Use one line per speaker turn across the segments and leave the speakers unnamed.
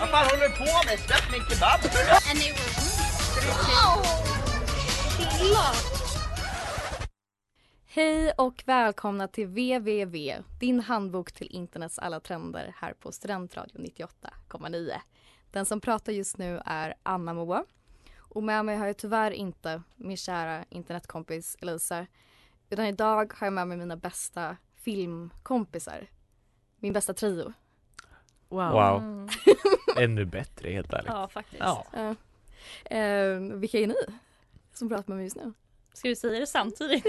Vad fan håller du på med? Släpp min kebab!
and they were rude.
Hej och välkomna till www, din handbok till internets alla trender här på Studentradion 98,9. Den som pratar just nu är Anna Moa och med mig har jag tyvärr inte min kära internetkompis Elisa utan idag har jag med mig mina bästa filmkompisar. Min bästa trio.
Wow. Ännu bättre helt ärligt.
Ja, faktiskt.
Eh, eh, vilka är ni som pratar med mig just nu?
Ska du säga det samtidigt?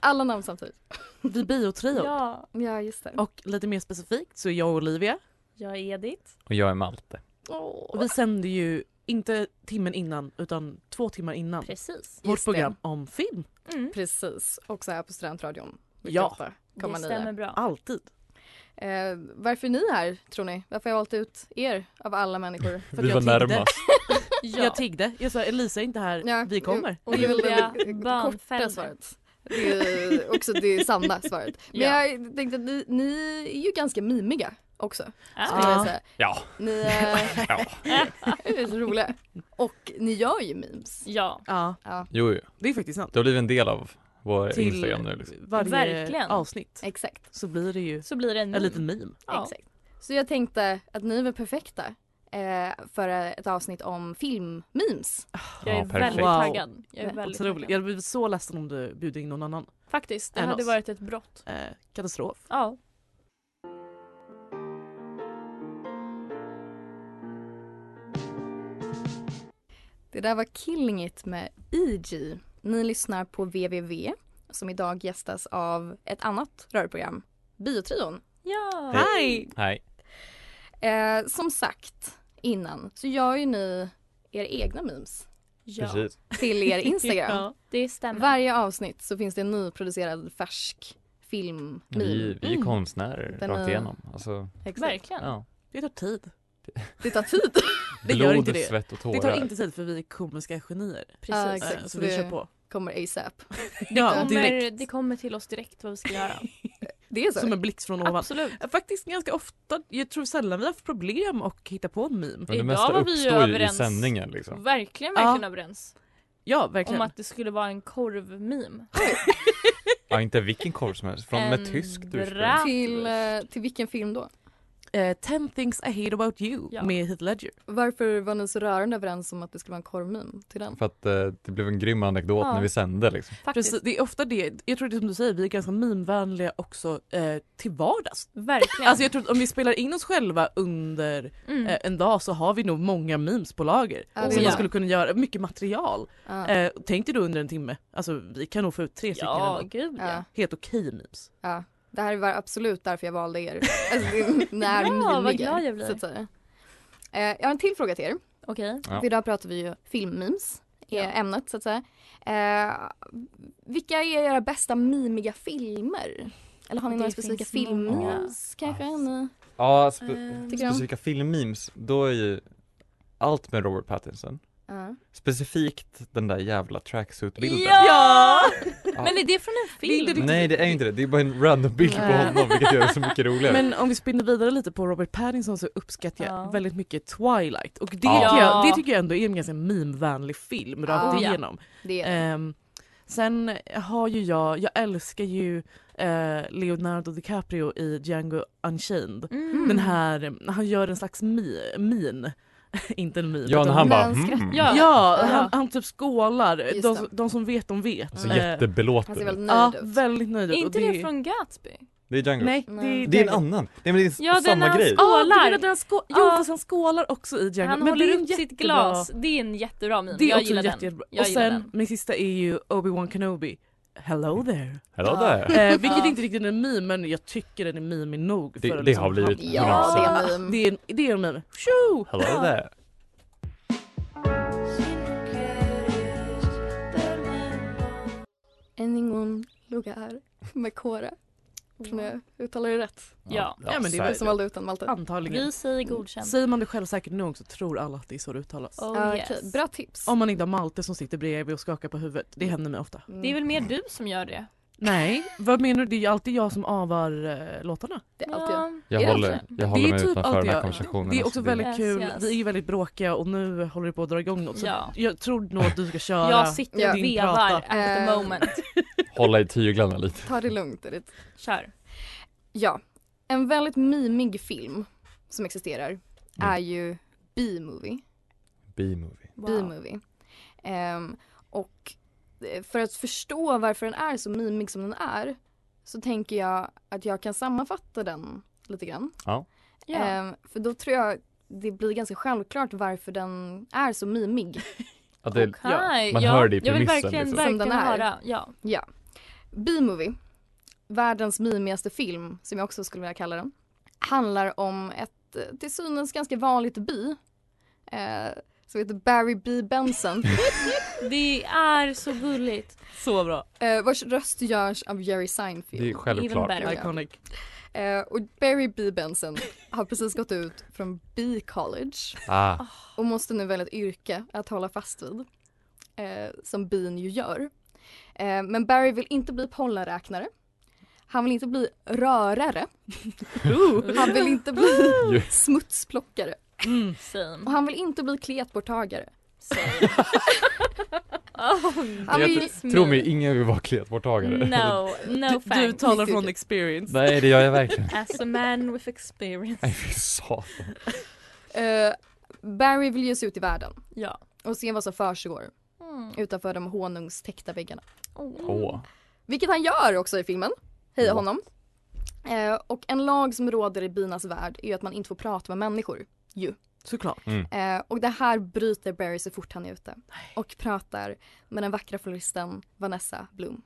Alla namn samtidigt.
Vi är biotrio.
ja.
Ja, just det.
Och lite mer specifikt så är jag och Olivia.
Jag är Edith.
Och jag är Malte.
Och vi sänder ju inte timmen innan utan två timmar innan
Precis.
vårt
Just det.
program om film.
Mm.
Precis, också här på Studentradion.
Ja.
98,9.
Det stämmer bra.
Alltid.
Eh, varför är ni här tror ni? Varför har jag valt ut er av alla människor?
För att jag tiggde.
Ja.
Jag tiggde. Jag sa Elisa är inte här,
Ja,
vi kommer.
Och det är väl
Julia
det korta
Bönfelder.
svaret. Det är också det sanna svaret. Men
Ja.
jag tänkte att ni, ni är ju ganska mimiga också.
Ja.
skulle jag säga.
Ja.
Ni är,
ja.
är så roliga. Och ni gör ju memes.
ja.
Ja,
Jo, jo.
det är faktiskt sant.
Det har blivit en del av vår
Till-
Instagram nu. Liksom.
Varje
Verkligen.
avsnitt
Exakt.
så blir det ju
Så blir det en
en liten meme.
Ja.
Exakt. Så jag tänkte att ni är väl perfekta eh, för ett avsnitt om filmmemes.
Jag är
Ja, perfekt.
väldigt
Wow.
taggad. Jag är väldigt
Otroligt. Jag
taggad.
hade blivit så ledsen om du bjöd in någon annan.
Faktiskt, det
Än
hade
oss.
varit ett brott.
Eh, katastrof.
Ja.
Det där var Killing It med EG. Ni lyssnar på www som idag gästas av ett annat rörprogram, Biotrion.
Ja.
Hej!
Nej.
Eh, som sagt innan så gör ju ni er egna memes
ja.
Precis.
till er Instagram.
ja. Det stämmer.
Varje avsnitt så finns det en nyproducerad färsk film
Vi, vi är
Mm.
konstnärer
Den
rakt
är-
igenom. Alltså,
Exakt.
Verkligen.
ja.
Det tar tid.
Det tar tid.
Det gör
Blod,
inte det.
svett och tårar.
Det tar inte tid för vi är komiska genier.
Ja,
Precis.
exakt.
Eh,
så
så vi
det-
kör på.
Kommer ASAP.
Ja,
kommer, det kommer till oss direkt vad vi ska göra.
Det är så.
Som en blixt från ovan.
Absolut.
Faktiskt ganska ofta, jag tror sällan vi har haft problem och hitta på en meme.
Men det
Idag
mesta
var vi ju
uppstår ju i
överens.
sändningen liksom.
Verkligen, verkligen
Ja.
överens.
Ja,
Om
verkligen.
att det skulle vara en korvmeme.
Ja, inte vilken korv som helst. Från
En
med tyskt ursprung.
bra-
Till, eh, till vilken film då?
Eh, 10 things I hate about you
Ja.
med Heath Ledger.
Varför var ni så rörande överens om att det skulle vara en korvmeme till den?
För att eh, det blev en grym anekdot
Ja.
när vi sände liksom.
Faktiskt.
Precis, det är ofta det, jag tror det är som du säger, vi är ganska meme-vänliga också eh, till vardags.
Verkligen.
Alltså jag tror att om vi spelar in oss själva under
mm.
eh, en dag så har vi nog många memes på lager.
Ja, det
som
är
man
det.
skulle kunna göra, mycket material.
Ja.
Eh, tänk dig då under en timme, alltså vi kan nog få ut tre stycken
ja,
ändå.
gud ja.
Ja.
Helt okej memes.
Ja, det här var absolut därför jag valde er. Alltså, det- ni är
Ja, vad
mimiga,
glad jag blir.
så att säga. Eh, jag har en till fråga till er.
Okej.
Ja.
För idag pratar vi ju filmmemes,
Ja.
är ämnet så att säga. Eh, vilka är era bästa mimiga filmer? Eller har ni
Det
några specifika
finns många.
filmmemes kanske? Ni
Ja,
Eh,
spe
tycker om?
specifika filmmemes. Då är ju allt med Robert Pattinson.
Ja.
Specifikt den där jävla tracksuit-bilden.
Ja!
Ja.
Men är det från
Det är
en film?
inte riktigt-
Nej det är ju inte det, det är bara en random bild på
Nej.
honom vilket gör det så mycket roligare.
Men om vi spinner vidare lite på Robert Pattinson så uppskattar jag
Ja.
väldigt mycket Twilight och det,
Ja.
tycker jag, det tycker jag ändå är en ganska meme-vänlig film rakt
Ja.
igenom.
Det
Eh,
är
Ehm, sen har ju jag, jag älskar ju eh, Leonardo DiCaprio i Django Unchained.
Mm.
Den här, han gör en slags mi, min
inte en meme.
Ja, när
utan-
han bara
Men skratt-
mm.
Ja.
Ja,
Ja.
han, han typ skålar.
Just
De,
det.
de som vet, de vet.
Alltså
Eh,
jättebelåten
Han ser väldigt nöjd
Ja,
ut.
väldigt nöjd.
Är
ut.
inte
Och
det, från Gatsby?
Det är Django.
Nej,
Nej.
det är,
Det är en annan. Nej men det är
Ja, den
samma
när han
grej.
skålar.
Ah, du menar att han skå- Jo
Ja.
fast han skålar också i Django.
Han
Men det är
håller
en
upp sitt
jättebra-
glas. Det är en jättebra meme.
Det är
jag
också
gillar
jätte,
den.
jättebra.
Jag
Och
gillar
sen
den.
min sista är ju Obi-Wan Kenobi. Hello there.
Hello
Ja.
there.
Eh, vilket
Ja.
inte riktigt är en meme men jag tycker den är meme nog.
Det-
för att
det
liksom
har blivit
hamna-
Ja,
Ja.
det är en meme.
Det är, en- det är en meme. Tjo!
Hello there.
Anyone lugar med Kåre. Tror jag uttalar det rätt.
Ja.
Ja, men det är
Du
väl
som valde ut den
Oh,
Malte.
Antagligen.
Vi säger godkänd.
Säger man det självsäkert nog så tror alla att det är så det uttalas.
Oh,
Ja,
yes.
okej. Bra tips.
Om man inte har Malte som sitter bredvid och skakar på huvudet. Det händer mig ofta.
Mm.
Det är väl mer du som gör det?
Nej, vad menar du? Det är ju alltid jag som avar eh, låtarna.
Det är alltid jag.
Jag
Är det
håller,
verkligen?
jag
Det
håller
är
mig
typ
utanför
alltid
den här
jag.
konversationen.
Det är
så
också väldigt
Yes,
kul.
yes.
Vi är ju väldigt bråkiga och nu håller det på att dra igång något. Så
Ja.
jag tror nog att du ska köra.
Jag sitter och
din
vevar
prata.
at the
Eh.
moment.
Hålla i tyglarna lite.
Ta det lugnt. Edith.
Kör.
Ja. En väldigt mimig film som existerar är ju B-movie.
B-movie.
B-movie. Ehm, och eh, för att förstå varför den är så mimig som den är så tänker jag att jag kan sammanfatta den lite grann.
Ja.
Ehm, för då tror jag det blir ganska självklart varför den är så mimig.
Att det,
Okej,
man
ja.
hör det i
Jag vill
premissen,
verkligen,
liksom.
verkligen
Som den är.
höra. Ja.
B-movie, världens mimigaste film som jag också skulle vilja kalla den, handlar om ett eh, till synes ganska vanligt bi eh, som heter Barry B. Benson
Det är så gulligt.
Så bra.
eh, vars röst görs av Jerry Seinfeld.
det är självklart.
Even better.
Iconic.
Eh, och Barry B. Benson har precis gått ut från B College
Ah,
och måste nu välja ett yrke att hålla fast vid, eh, som bin ju gör. Eh, men Barry vill inte bli pollenräknare. Han vill inte bli rörare. Han vill inte bli
ju,
smutsplockare.
Mm.
Och
Same.
han vill inte bli kletborttagare.
Oh,
Han vill,
tro mig, ingen vill vara kletborttagare.
no, no
Du, du
thanks.
talar från experience.
Nej, det gör jag verkligen.
As a man with experience.
Nej, fy satan.
eh, Barry vill ge sig ut i världen
Ja.
och se vad som försiggår
Mm.
utanför de honungstäckta väggarna.
Åh.
Vilket han gör också i filmen. Heja
What?
honom. Eh, och en lag som råder i binas värld är ju att man inte får prata med människor.
Såklart.
Eh, och det här bryter Barry så fort han är ute. Och pratar med den vackra floristen Vanessa Bloom.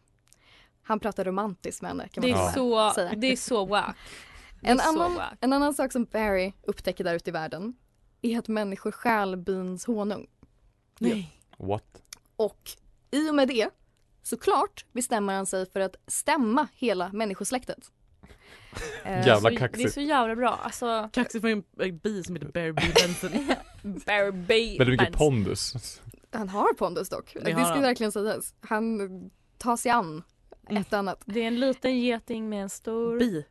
Han pratar romantiskt med henne kan man
Det är
säga.
så,
säga.
det är så wack. Det är
En
så
annan-
wack.
En annan sak som Barry upptäcker där ute i världen är att människor stjäl bins honung.
Nej.
What?
Och i och med det såklart bestämmer han sig för att stämma hela människosläktet. Eh,
Jävla
så, Det är
kaxigt.
så jävla bra. Alltså,
Kaxigt för en en bi som heter Bear B. Benson.
Bear Bay.
Väldigt mycket pondus.
Han har pondus dock. Det,
Det har
ska
han.
verkligen sägas. Han eh, tar sig an
Mm.
ett och annat.
Det är en liten geting med en stor...
Bi.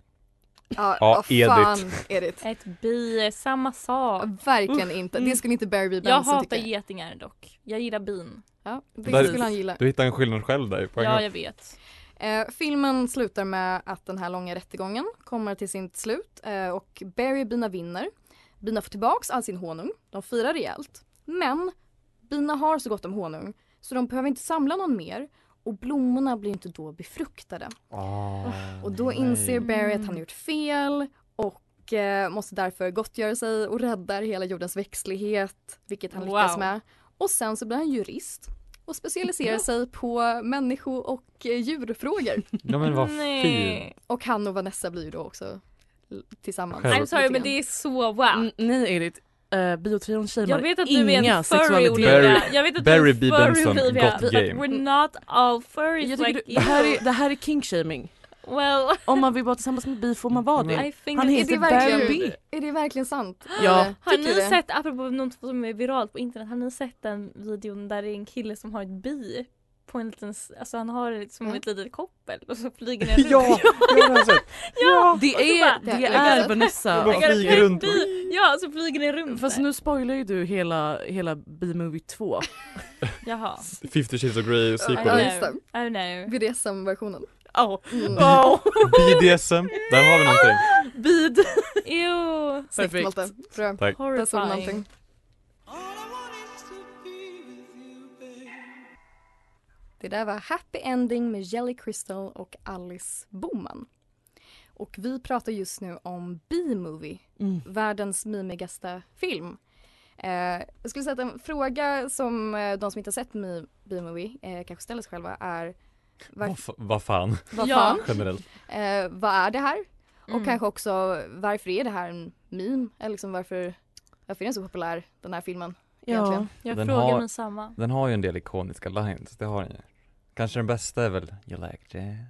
Ja,
Ja,
vad fan Edith.
Ett bi är samma sak.
Verkligen inte. Det skulle inte Barry B.
Mm. Jag
Benson
hatar
tycka.
getingar dock. Jag gillar bin.
Ja, det
Där-
skulle han gilla.
Du hittar en skillnad själv där på en
Ja,
gång.
jag vet.
Eh, filmen slutar med att den här långa rättegången kommer till sitt slut eh, och Barry och Bina vinner. Bina får tillbaks all sin honung. De firar rejält. Men Bina har så gott om honung så de behöver inte samla någon mer och blommorna blir inte då befruktade.
Ah,
Och då
nej.
inser Barry att han gjort fel och eh, måste därför gottgöra sig och räddar hela jordens växtlighet, vilket han lyckas
Wow.
med. Och sen så blir han jurist och specialiserar sig på människo och eh, djurfrågor.
Ja men vad fint.
Nej.
Och han och Vanessa blir ju då också l- tillsammans.
Själv-
I'm sorry
Lite
men
grann.
det är så wow.
Mm, nej Edith, uh, biotrion
Ah. Jag
shamear
vet att du är
inga
en furry
sexualiteter.
Barry-
Olivia. Jag vet att
Barry
du
B.
är en furry
Benson,
Olivia.
gott
But
game.
We're not all furries
Jag
like
tycker du, det,
you.
här är, det här är kinkshaming.
Well,
Om man vill vara tillsammans med bi får man vara det.
I think
Han
that-
heter
Är det verkligen-
Barry B.
Är det verkligen sant?
Ja.
Eller,
Har
tycker
ni
du det?
sett, apropå något som är viralt på internet, har ni sett den videon där det är en kille som har ett bi på en liten, s- alltså han har det som
Mm.
Ja.
ett litet koppel och så flyger den runt.
Ja, jag har sett.
ja!
Det är,
bara-
det
Jag kan
är
säga-
Vanessa.
bara-
Jag
flyger runt.
bi. Ja, så flyger den runt
Fast
där.
nu spoilar ju du hela, hela B-movie 2.
Jaha.
50 shades of Grey
Ja,
sequel.
just det.
I know.
BDSM-versionen.
Oh.
Mm.
BDSM. Där har vi någonting.
Bid.
Ew.
Snyggt
Perfekt.
Malte. Bra. Där såg du
Horrifying.
någonting. Det där var Happy Ending med Jelly Crystal och Alice Boman. Och vi pratar just nu om B-movie,
Mm.
världens mimigaste film. Eh, jag skulle säga att en fråga som eh, de som inte har sett Mi- B-movie eh, kanske ställer sig själva är
Vad
var,
fa- vad fan,
vad
Ja.
fan,
generellt.
eh, vad är det här? Och
Mm.
kanske också varför är det här en meme? Eller liksom varför, varför är den så populär den här filmen?
Ja.
Egentligen.
Jag
Den
frågar
har-
mig samma.
Den har ju en del ikoniska lines, det har den ju. Kanske den bästa är väl You like jazz?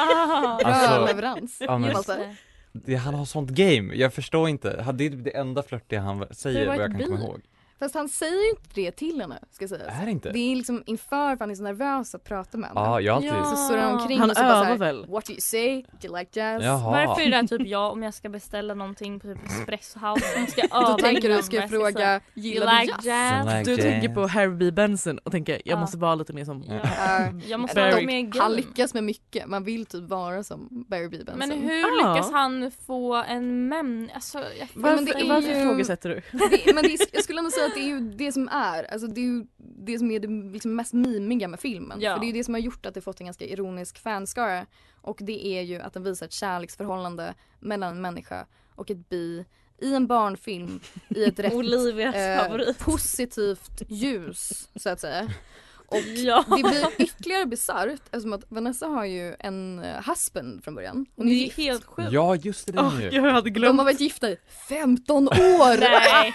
Ah,
Bra
Alltså,
leverans.
ja, men-
alltså.
just det.
Det, han har sånt game, jag förstår inte. Han- Det är det enda flörtiga han
Det
säger
var
vad jag
ett
kan komma
bi.
ihåg.
Fast han säger ju inte det till henne, ska sägas.
Är det inte?
Det är liksom inför för han är så nervös att prata med henne.
Ja, jag har alltid...
Ja.
Så surrar han omkring
Han
och så bara
övar
så här,
väl?
What do you say? Do you like jazz?
Jaha.
Varför är det där typ jag om jag ska beställa någonting på typ Espresso House? Jag ska öva
Då tänker du,
innan
ska jag
vad jag
fråga,
säga. You
gillar du
like
jazz?
jazz?
You like
Du
jazz?
tänker på Harry B. Benson och tänker jag
Ja.
måste vara lite mer som...
Ja.
Ja.
Jag måste
Barry.
vara mer game.
eh, Han lyckas med mycket, man vill typ vara som Barry B. Benson.
Men hur
Ja.
lyckas han få en män... Alltså, jag
Varför,
men det är
varför
ju-
ifrågasätter du?
det, men det är, jag skulle ändå säga att det är ju det som är, alltså det är ju det som är det liksom mest mimiga med filmen.
Ja.
För det är ju det som har gjort att det fått en ganska ironisk fanskara. Och det är ju att den visar ett kärleksförhållande mellan en människa och ett bi i en barnfilm i ett rätt
Olivias
eh,
favorit.
positivt ljus så att säga. Och
Ja.
det blir ytterligare bisarrt eftersom att Vanessa har ju en eh, husband från början. Hon är
Det är
gift.
helt sjukt.
Ja, just det, den
Åh,
ju.
jag hade
De
glömt.
har varit gifta i 15 år!
Nej.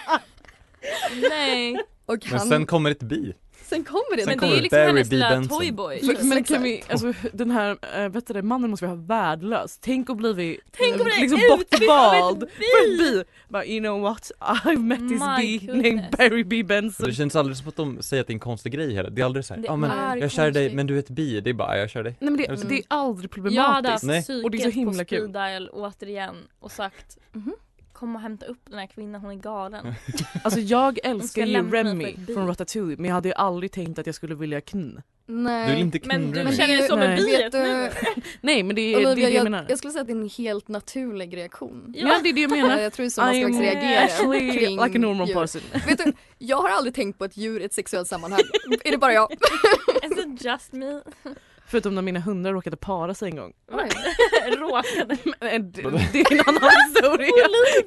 Nej.
Och
Men
han,
sen kommer ett bi.
sen kommer det.
Sen
Men det
kommer
är ju liksom
Barry
hennes
B.
lilla
Benson.
toyboy.
Men, men
Exakt.
kan vi, alltså den här, äh, vet du det, mannen måste vi ha värdelös. Tänk om blivit
Tänk om det är
liksom
utbytt
bortvald
av ett bi.
för ett bi. Bara, you know what, I've met this
My
bee named
goodness.
Barry B.
Så
Benson.
det känns aldrig som att de säger att det är en konstig grej heller. Det är aldrig såhär,
Det
ja men
är
jag kär dig
konstigt.
men du är ett bi. Det är bara, "Ja, jag kär dig.
Nej men
Är det
det,
så?
det är aldrig
Jag hade
problematiskt.
haft
Nej.
psyket
Och det är så himla
på speed
kul.
dial återigen och sagt
Mhm.
kom och hämta upp den här kvinnan, hon är galen.
Alltså jag
ska
älskar ju
lämna mig för
Remy
ett bi.
från Ratatouille men jag hade ju aldrig tänkt att jag skulle vilja kn.
Nej.
Du vill inte knulla
Men du
mig.
känner dig som en
Nej.
biet
Vet
nu.
du,
Nej men det är det, är
Olivia,
det jag
jag,
menar.
jag skulle säga att det är en helt naturlig reaktion. Eh,
Ja det är det jag menar.
Jag tror det är så man slags reagerar
actually
kring
like a normal
djur.
person.
Vet du, jag har aldrig tänkt på ett djur i ett sexuellt sammanhang. är det bara jag?
Is it just me?
Förutom när mina hundar råkade para sig en gång.
Råkade.
Men eh, Det det är en annan historia.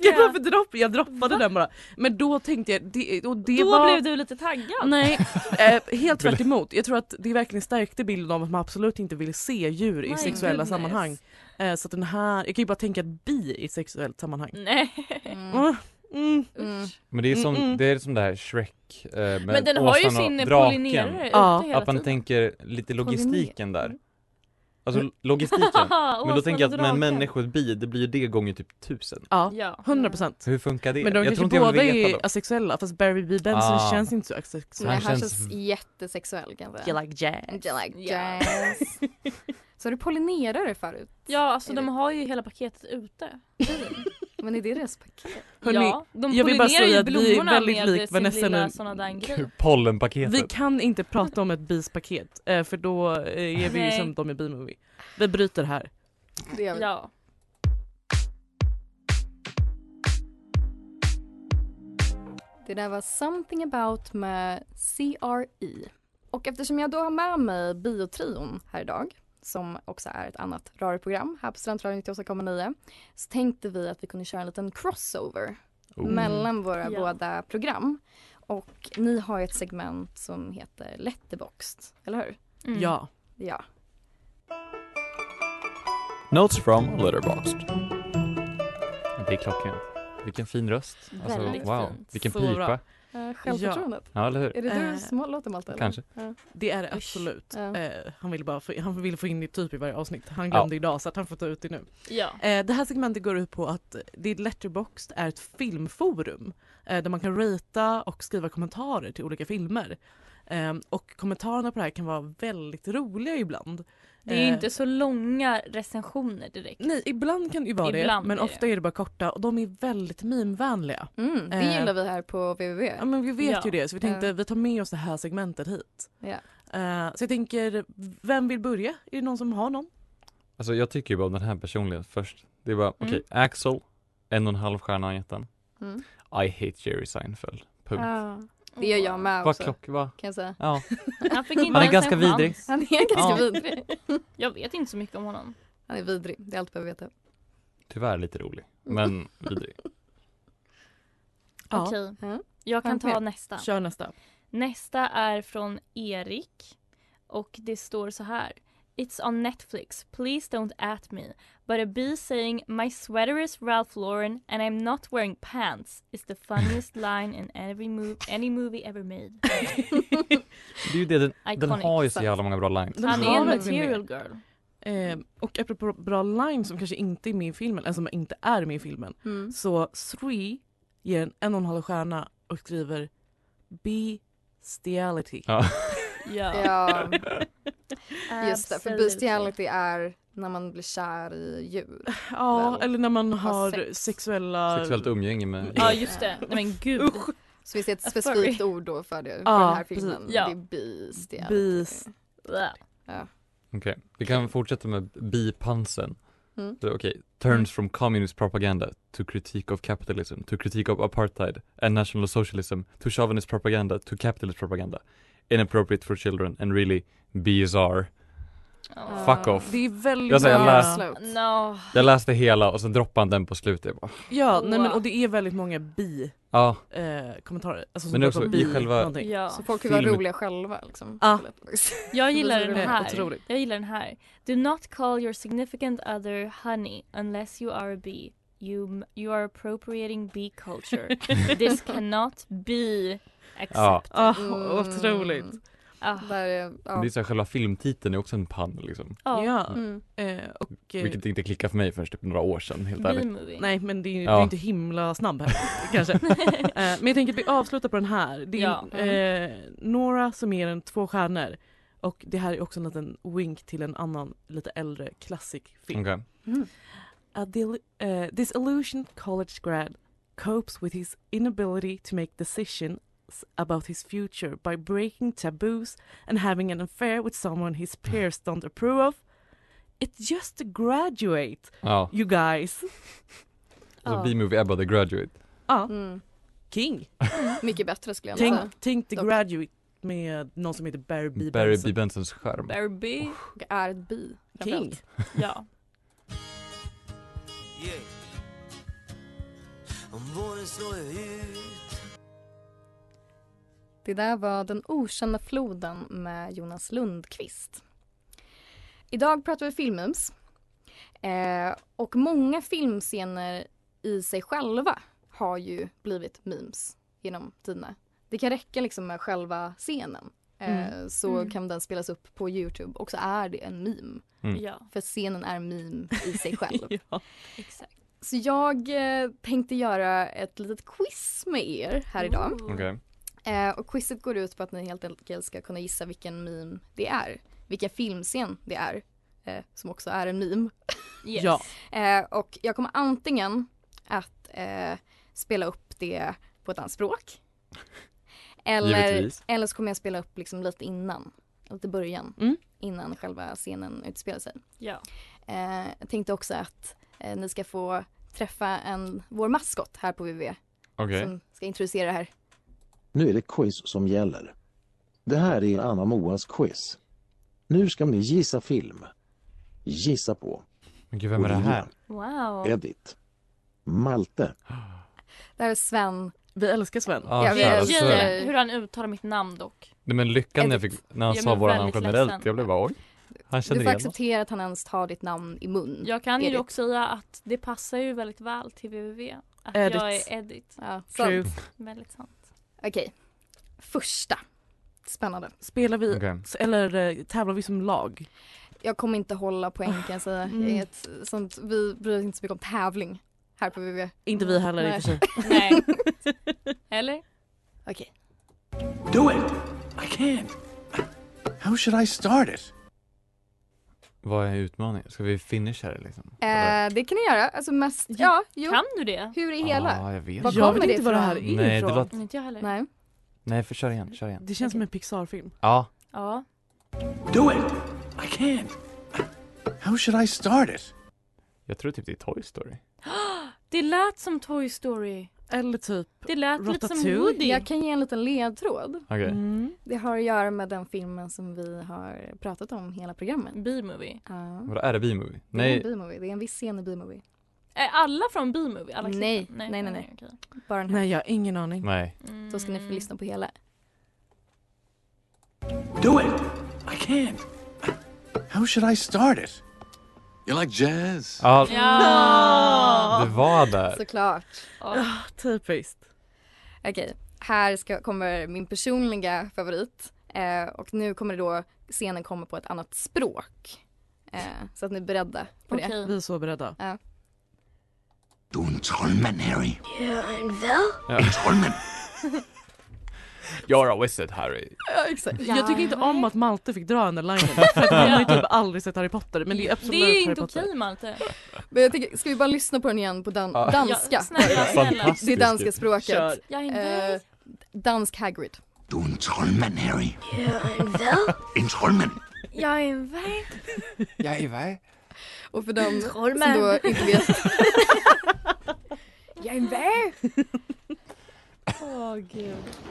Gud varför
Olivia!
dropp? Jag droppade den bara. Men då tänkte jag, det, och det
Då
var...
blev du lite taggad.
Nej, eh, helt tvärt emot. Jag tror att det verkligen stärkte bilden av att man absolut inte vill se djur i
My
sexuella
goodness.
sammanhang. Eh, så att den här, jag kan ju bara tänka att bi i ett sexuellt sammanhang.
Nej.
Mm.
Mm. Mm.
Mm.
Men det är som,
Mm, mm.
det är som det här Shrek eh, med
Men den har ju
åsnan och
sin
draken.
pollinerare
Ja,
ute hela
Att man
tiden. Mm.
tänker lite logistiken där. Alltså logistiken. Men
Haha,
då
åsnan
tänker jag att
och
med en
draken.
människa och ett bi, det blir ju det gånger typ tusen.
Ja,
Ja.
100 procent.
Hur funkar det?
Men de
jag tror
kanske
inte jag vill
båda
veta
är
dem.
alltså,
asexuella fast Barry B Benson
Ah.
känns inte så asexuell.
Nej,
Han
han
känns-
känns jättesexuell kanske.
You like jazz.
You like
Ja.
jazz. Så har du pollinerare förut?
Ja, alltså
Är
de
det-
har ju hela paketet ute.
Men är det deras paket?
Hörni,
ja, de
jag vill bara
pollinerar
säga
ju
att vi är
blommorna
väldigt
med
lik
sin
Vanessa
lilla
nu.
såna där grej.
Pollenpaketet.
Vi kan inte prata om ett bispaket eh, för då eh, är vi ju
Nej.
som de i B-movie. Vi bryter här.
Det gör vi.
Ja.
Det där var Something about med CRE. Och eftersom jag då har med mig Biotrion här idag, som också är ett annat radioprogram här på Studentradion 98,9, så tänkte vi att vi kunde köra en liten crossover
Oh.
mellan våra
Ja.
båda program. Och ni har ju ett segment som heter Letterboxd, eller hur?
Mm.
Ja.
Ja.
Notes from Letterboxd. Det är klockan. Vilken fin röst. Alltså,
Väldigt
wow.
fint.
Vilken
Så
pipa.
bra.
Eh, Självförtroendet.
Ja, eller hur?
Är det
Eh,
du som låter Malte? eller?
Kanske.
Ja.
Det är det absolut.
Ja.
Eh, han ville bara få, han ville få in det typ i varje avsnitt. Han glömde idag så att han får ta ut det nu.
Ja.
Eh, det här segmentet går ut på att det Letterboxd är ett filmforum eh, där man kan rita och skriva kommentarer till olika filmer. Eh, och kommentarerna på det här kan vara väldigt roliga ibland.
Det är ju
Eh,
inte så långa recensioner direkt.
Nej, ibland kan det ju vara
Ibland
det, men
är det.
ofta är det bara korta och de är väldigt meme-vänliga.
Mm, det
Eh.
gillar vi här på www.
Ja, men vi vet
Ja.
ju det, så vi tänkte
Ja.
vi tar med oss det här segmentet hit.
Ja.
Eh, så jag tänker, vem vill börja? Är det någon som har någon?
Alltså jag tycker ju bara om den här personligen först. Det är bara, okej,
Mm.
Axel, en och en halv stjärna har han gett den.
Mm.
I hate Jerry Seinfeld. Punkt.
Ja. Det gör jag med
Vad
också
klock, vad?
kan jag säga.
Ja,
Han, fick inte
han är
ens
ganska
en
vidrig.
chans.
Han är
Ja.
ganska vidrig.
Jag vet inte så mycket om honom.
Han är vidrig, det är allt du behöver veta.
Tyvärr lite rolig, men vidrig.
Ja.
Okej,
Mm.
jag kan
Har du
ta
mer?
nästa.
Kör nästa.
Nästa är från Erik och det står så här. It's on Netflix. Please don't at me. But a bee saying my sweater is Ralph Lauren and I'm not wearing pants is the funniest line in every move, any movie ever made.
Det är ju det, den, den
Iconic,
har ju så
sant.
jävla många bra lines.
Den
Han
har
är en
verkligen det.
material girl.
Eh, och apropå bra lines som kanske inte är med i filmen, eller som inte är med i filmen.
Mm.
Så Sri ger en en och en halv stjärna och skriver bestiality.
Ja.
Ja, just det. För
Absolutely.
bestiality är när man blir kär i djur.
Ja,
Väl,
eller när man
ha
har
sex.
sexuella...
Sexuellt umgänge med...
Ja just det, nej men gud.
Så vi ser ett
Ah,
Sorry.
specifikt ord då för det, för
Ja,
den här
precis.
filmen.
Ja.
Det är bestiality.
Beast.
Blah.
Okej, vi kan fortsätta med bipansen.
Mm.
Så, Okej, turns from communist propaganda to critique of capitalism, to critique of apartheid and national socialism, to chauvinist propaganda, to capitalist propaganda. Inappropriate for children and really bizarre.
Oh.
Ah. Fuck off.
Det är väldigt
Jag säger
många...
alla-
Ah. Slut.
No.
Jag läste hela och sen droppade han den på slutet. Jag bara, ah,
Ja, nej, men, och det är väldigt många bi-kommentarer.
Ja,
Eh, kommentarer, alltså,
Men
pratar
också
om
i
bi
själva-
någonting.
Ja.
Så folk kan vara
Film. Ah.
roliga själva liksom.
Ja.
Jag gillar
Alltså, Det är
den
Eh,
här.
Otroligt.
Jag gillar den här. Do not call your significant other honey unless you are a bee. You, you are appropriating bee culture. This cannot be accepted.
Ah,
Mm.
Otroligt.
Ah.
Där är,
men
ja.
det är så här, själva filmtiteln är också en pann liksom.
Ja,
Ja,
Mm.
eh, och... eh,
Vilket inte klickade för mig förrän typ några år sedan, helt ärligt.
bee-movie.
Nej men det är ju
Ja.
det är inte himla snabb här kanske. Eh, men jag tänker att vi avslutar på den här. Det är
Ja.
eh, några som ger den två stjärnor och det här är också en liten wink till en annan lite äldre klassikfilm.
Okej.
A dil- eh, disillusioned college grad copes with his inability to make decisions about his future by breaking taboos and having an affair with someone his peers don't approve of. It's just to graduate,
Ja,
you guys.
alltså
Ja.
B-movie Ebba the Graduate.
Ja,
Mm.
king.
Mycket bättre skulle jag nog säga.
Tänk, tänk The
Dock.
Graduate med någon som heter Barry B.
Barry B.
Benson.
Bensons skärm.
Bear bee.
Och är ett bi.
King.
Ja.
Det där var Den okända floden med Jonas Lundqvist. Idag pratar vi filmums. Eh, och många filmscener i sig själva har ju blivit memes genom tiderna. Det kan räcka liksom med själva scenen. Eh, Så
Mm.
kan den spelas upp på Youtube och så är det en meme.
Mm.
ja,
För scenen är meme i sig själv.
ja.
exakt.
Så jag eh, tänkte göra ett litet quiz med er här idag.
Okej.
Eh, och quizet går ut på att ni helt enkelt ska kunna gissa vilken meme det är. Vilken filmscen det är, eh, som också är en meme.
Yes.
Ja.
Eh, och jag kommer antingen att eh, spela upp det på ett annat språk. Eller,
Givetvis.
eller så kommer jag spela upp liksom lite innan, lite i början.
Mm.
Innan själva scenen utspelar sig.
Ja.
Eh, jag tänkte också att eh, ni ska få träffa en, vår maskot här på VV
Okej.
som ska introducera det här.
Nu är det quiz som gäller. Det här är Anna Moas quiz. Nu ska ni gissa film. Gissa på
Men gud, vem är det här?
Wow.
Edith, Malte,
Det här är Sven.
Vi älskar Sven.
Jag
Ah, jag
vet.
vet.
Alltså-
Grejen, hur han uttalar mitt namn dock.
Nej, men lyckan när jag
Edith.
fick, när han
Ja,
sa
men
våra namn
väldigt
generellt,
ledsen.
jag blev bara oj. Han
Du
känner
får
igen oss.
acceptera att han ens tar ditt namn i mun.
Jag kan ju
Edit.
dock säga att det passar ju väldigt väl till www. Att
Edit.
jag är Edit.
Ja, sant.
True.
Väldigt sant.
Okej. Första. Spännande.
Spelar vi,
Okej.
s- eller eh, tävlar vi som lag?
Jag kommer inte hålla poäng kan jag säga.
Mm.
Jag är ett sånt, vi bryr oss inte så mycket om tävling här på VV.
Inte vi heller i och för sig.
Nej. Eller?
Okej.
Do it! I can't. How should I start it?
Vad är utmaningen? Ska vi finisha det liksom? Eller?
Eh, det kan ni göra. Alltså mest, ja, jo.
Kan du det?
Hur är hela?
Ah, jag vet.
Vad
inte.
Jag
kommer
vet
det
inte vad det här
ifrån?
är
Nej, det
ifrån.
låter-
Inte jag heller.
Nej.
Nej, för kör igen, kör igen.
Det känns som en Pixar-film.
Ja,
Ja.
Do it! I can't. How should I start it?
jag tror typ det är Toy Story.
Det lät som Toy Story.
Eller typ...
Det lät lite som
Ratatouille.
Woody.
Jag kan ge en liten ledtråd.
Okej.
Mm.
Det har att göra med den filmen som vi har pratat om hela programmet.
B-movie.
Ja.
Vadå, är det B-movie?
Det är en
Nej,
B-movie. Det är en viss scen i B-movie.
Är alla från B-movie? Alla
Nej,
klippen?
nej, nej,
okej, okej.
Bara den här.
Nej, jag har ingen aning.
nej.
Mm.
Då ska ni få lyssna på hela.
Do it! I can't. How should I start it?
You like jazz?
Ja,
Ja!
det var där.
Såklart.
Ja.
Typiskt.
Okej, här ska, kommer min personliga favorit. Eh, och nu kommer det då scenen kommer på ett annat språk. Eh, så att ni är beredda på det.
Okej.
Vi är så beredda.
Du en troldmand, Harry.
You're a wizard Harry.
Ja, exakt.
Jag tycker inte om att Malte fick dra den där linen. För att han har ju typ aldrig sett Harry Potter. Men det är
Det
absolut
är ju
Harry
inte
Potter.
okej Malte.
Men jag tycker, ska vi bara lyssna på den igen på dan-
Ja.
danska?
Ja, snälla, snälla.
Fantastiskt.
Det är danska språket.
Kör.
Jag är
Eh,
nöjd.
dansk Hagrid.
Du en troldmand, Harry. en troldmand.
Jag är en vän.
Jag är vad?
Och för dem som
Trollman.
då inte vet.
Jag är en vän.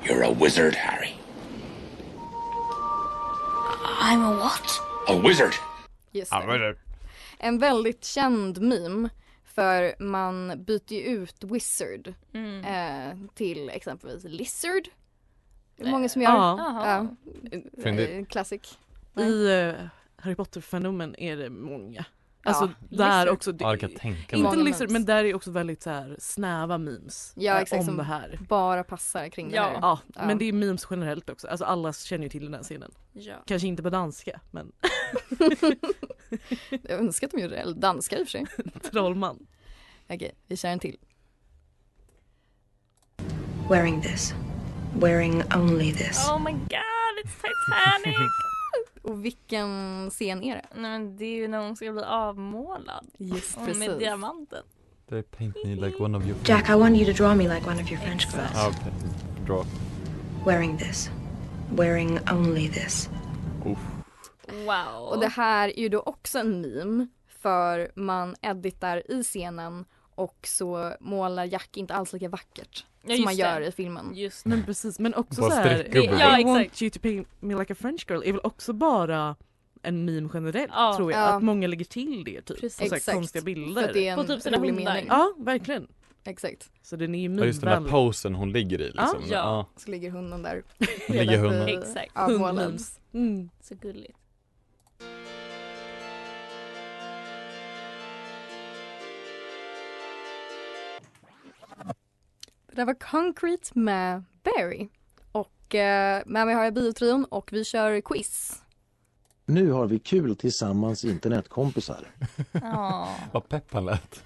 You're a wizard, Harry.
I'm a what?
A wizard.
Just det. En väldigt känd meme. För man byter ju ut wizard
Mm.
eh, till exempelvis lizard. Det är
Eh,
många som gör.
Ja.
Jaha.
Eh,
Fyndigt.
Classic.
I eh, Harry Potter-fenomen är det många. Alltså där
lizard.
också. Det,
Ja, det kan jag tänka mig.
inte
Många
lizard,
memes.
men där är också väldigt så här, snäva memes.
Ja,
eh,
exakt,
om
som-
det här.
Bara passar kring det
Ja.
här.
Ja,
Ja.
men det är memes generellt också. Alltså alla känner ju till den här scenen.
Ja.
Kanske inte på danska, men
Jag önskar att de gjorde det. Eller danskar i och för sig.
trollman.
Okej, vi kör en till.
Wearing this. Wearing only this.
Oh my god, it's Titanic!
Och vilken scen är det?
Nej men det är ju när hon ska bli avmålad.
Just
Och med diamanten.
They paint me like one of you.
Jack, I want you to draw me like one of your French girls.
Ah, Okej, Draw.
Wearing this. Wearing only this.
Wow.
Och det här är ju då också en meme för man editar i scenen och så målar Jack inte alls lika vackert
Ja,
som
just
man gör
det.
i filmen.
Just
Men precis, men också
Bara
så här.
streckgubbe.
Ja,
I want
exakt.
you to paint me like a French girl är väl också bara en meme generellt
Ja.
tror jag.
Ja.
Att många lägger till det typ.
Precis.
På så här
Exakt.
konstiga
För att
bilder.
det är
På
en
typ sina
rolig
hundar.
mening.
Ja, verkligen.
Exakt.
Så den är ju
Ja, just den där
meme-vänlig.
posen hon ligger i liksom.
Ja.
Ah,
Så ligger hunden där.
Hon ligger
redan
hunden.
vid
Exakt.
avmålad.
Hundmemes. Mm.
så gulligt.
Det där var Concrete med Barry. Och eh, med mig har jag biotrion och vi kör quiz.
Nu har vi kul tillsammans internetkompisar.
Ja.
Vad pepp han lät.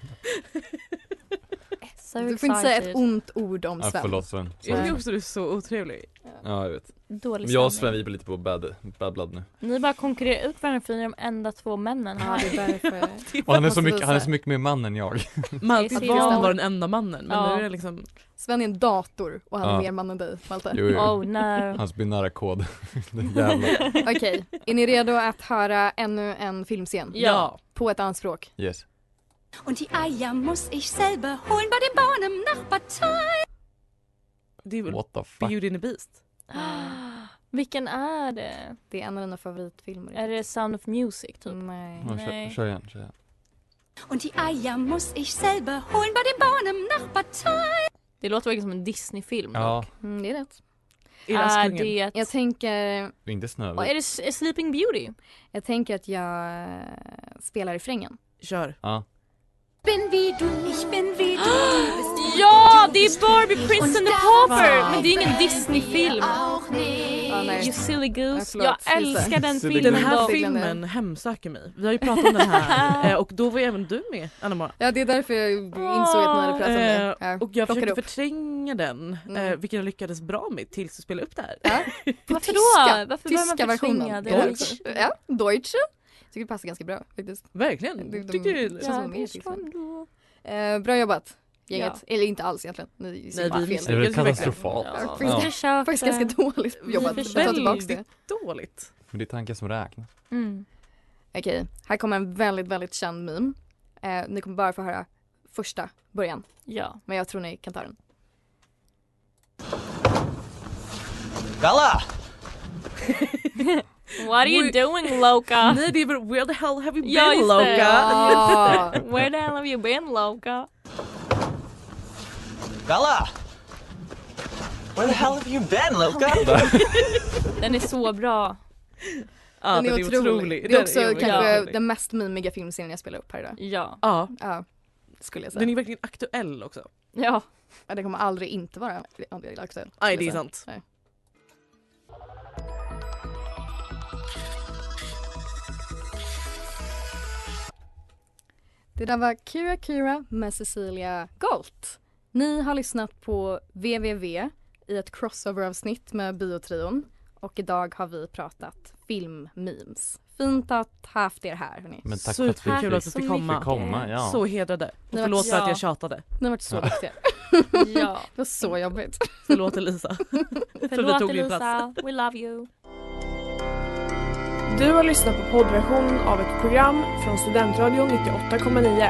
So
du får inte säga ett ont ord om
Ah,
Sven.
förlåt Sven.
Jag
Sorry.
tycker också du är så otrevlig.
Ja, jag vet.
Dålig
Jag och Sven
stämning.
vi blir lite på bad, bad blood nu.
Ni bara konkurrerar ut varandra för ni är de enda två männen
Ja,
här.
det är därför.
Och han, är
måste
så mycket, han är
visa.
så mycket mer man än jag.
Malte
Precis.
var, var den enda mannen men
Ja.
nu är det liksom
Sven är en dator och han är
Ja.
mer man än dig, Malte.
Jo, jo.
Oh no.
Hans binära kod. Det är Jävlar.
Okej, är ni redo att höra ännu en filmscen?
Ja.
På ett annat språk.
Yes.
Und die Eier muss ich selber holen bei dem Bauern im Nachbartal.
det är väl
What the fuck.
Beauty and the Beast.
Vilken är det?
Det är en av dina favoritfilmer. Mm,
Är det Sound of Music typ?
Nej.
Ja, kör,
Nej.
kör igen, kör igen.
Und die Eier muss ich selber holen bei dem Bauern im Nachbartal.
Det låter verkligen som en Disney-film
Ja,
Mm, det är rätt.
dock. Är
Askungen.
det...
Jag tänker,
det är inte
Och
Snövit.
är det S- är Sleeping Beauty?
jag tänker att jag eh, spelar refrängen.
Kör.
Ja.
Bin wie du, ich bin wie du. du bist wie
Ja,
du,
det är
bist wie
Barbie Prince and the Pauper! Men det är ingen
du
Disney-film.
Auch nicht.
Ja, nej.
You silly goose.
Ja, förlåt,
Jag
Lisa.
älskar den
Silly
filmen.
Den här
dock.
Glenn Doyle.
filmen hemsöker mig. Vi har ju pratat om den här eh, och då var ju även du med Anna-Mara.
Ja, det är därför jag insåg att ni hade pratat om det.
Eh,
Ja.
och
plockade
jag försökte
upp.
förtränga den, eh,
Mm.
vilket jag lyckades bra med tills du spelade upp det här.
Ja.
Varför
tyska-
då? Varför börjar
Tyska
man förtvinga
versionen.
det? här?
Deutsch. Ja, Deutsche. Jag tycker det passar ganska bra faktiskt.
Verkligen.
De- de-
Tyckte du,
Ja.
Ja, det är så.
Eh, bra jobbat gänget. Eller inte alls egentligen. Ni
Nej,
ser bara
vi
fel.
missade.
Det är väl katastrofalt.
Ja.
Ja.
Vi försökte.
Faktiskt ganska dåligt jobbat. Jag tar tillbaka det.
väldigt dåligt.
Men det är tanken som räknas.
Mm.
Okej, här kommer en väldigt, väldigt känd meme. Eh, ni kommer bara få höra första början,
Ja.
men jag tror ni kan ta den.
Bella!
What are you doing Loka?
Nej det är väl where the hell have you been
Ja, just det.
Loka?
Ja. Where the hell have you been Loka?
Bella! Where the hell have you been, Loka?
Den är så bra.
Ja,
den, är otrolig. Det
Den
är också
är otrolig.
kanske
Ja.
den mest mimiga filmserien jag spelar upp här idag.
Ja.
Ja.
Ja, skulle jag säga.
Den är verkligen aktuell också.
Ja.
ja den kommer aldrig inte vara aktuell. skulle
Nej det är
jag säga.
sant.
Nej. Det där var Kira Kira med Cecilia Galt. Ni har lyssnat på VVV i ett crossover-avsnitt med Biotrion och idag har vi pratat filmmemes. Fint att haft er här hörni.
Men tack för att vi
Superkul att du
fick
fick komma.
fick komma, ja.
Så hedrade. Och
Ni har
förlåt
varit-
för att
Ja.
jag tjatade.
Ni har varit så
Ja.
duktiga.
Ja.
Det var så jobbigt.
Förlåt Elisa. Jag trodde jag
Förlåt
tog din plats.
Elisa, we love you.
Du har lyssnat på poddversionen av ett program från Studentradion 98,9.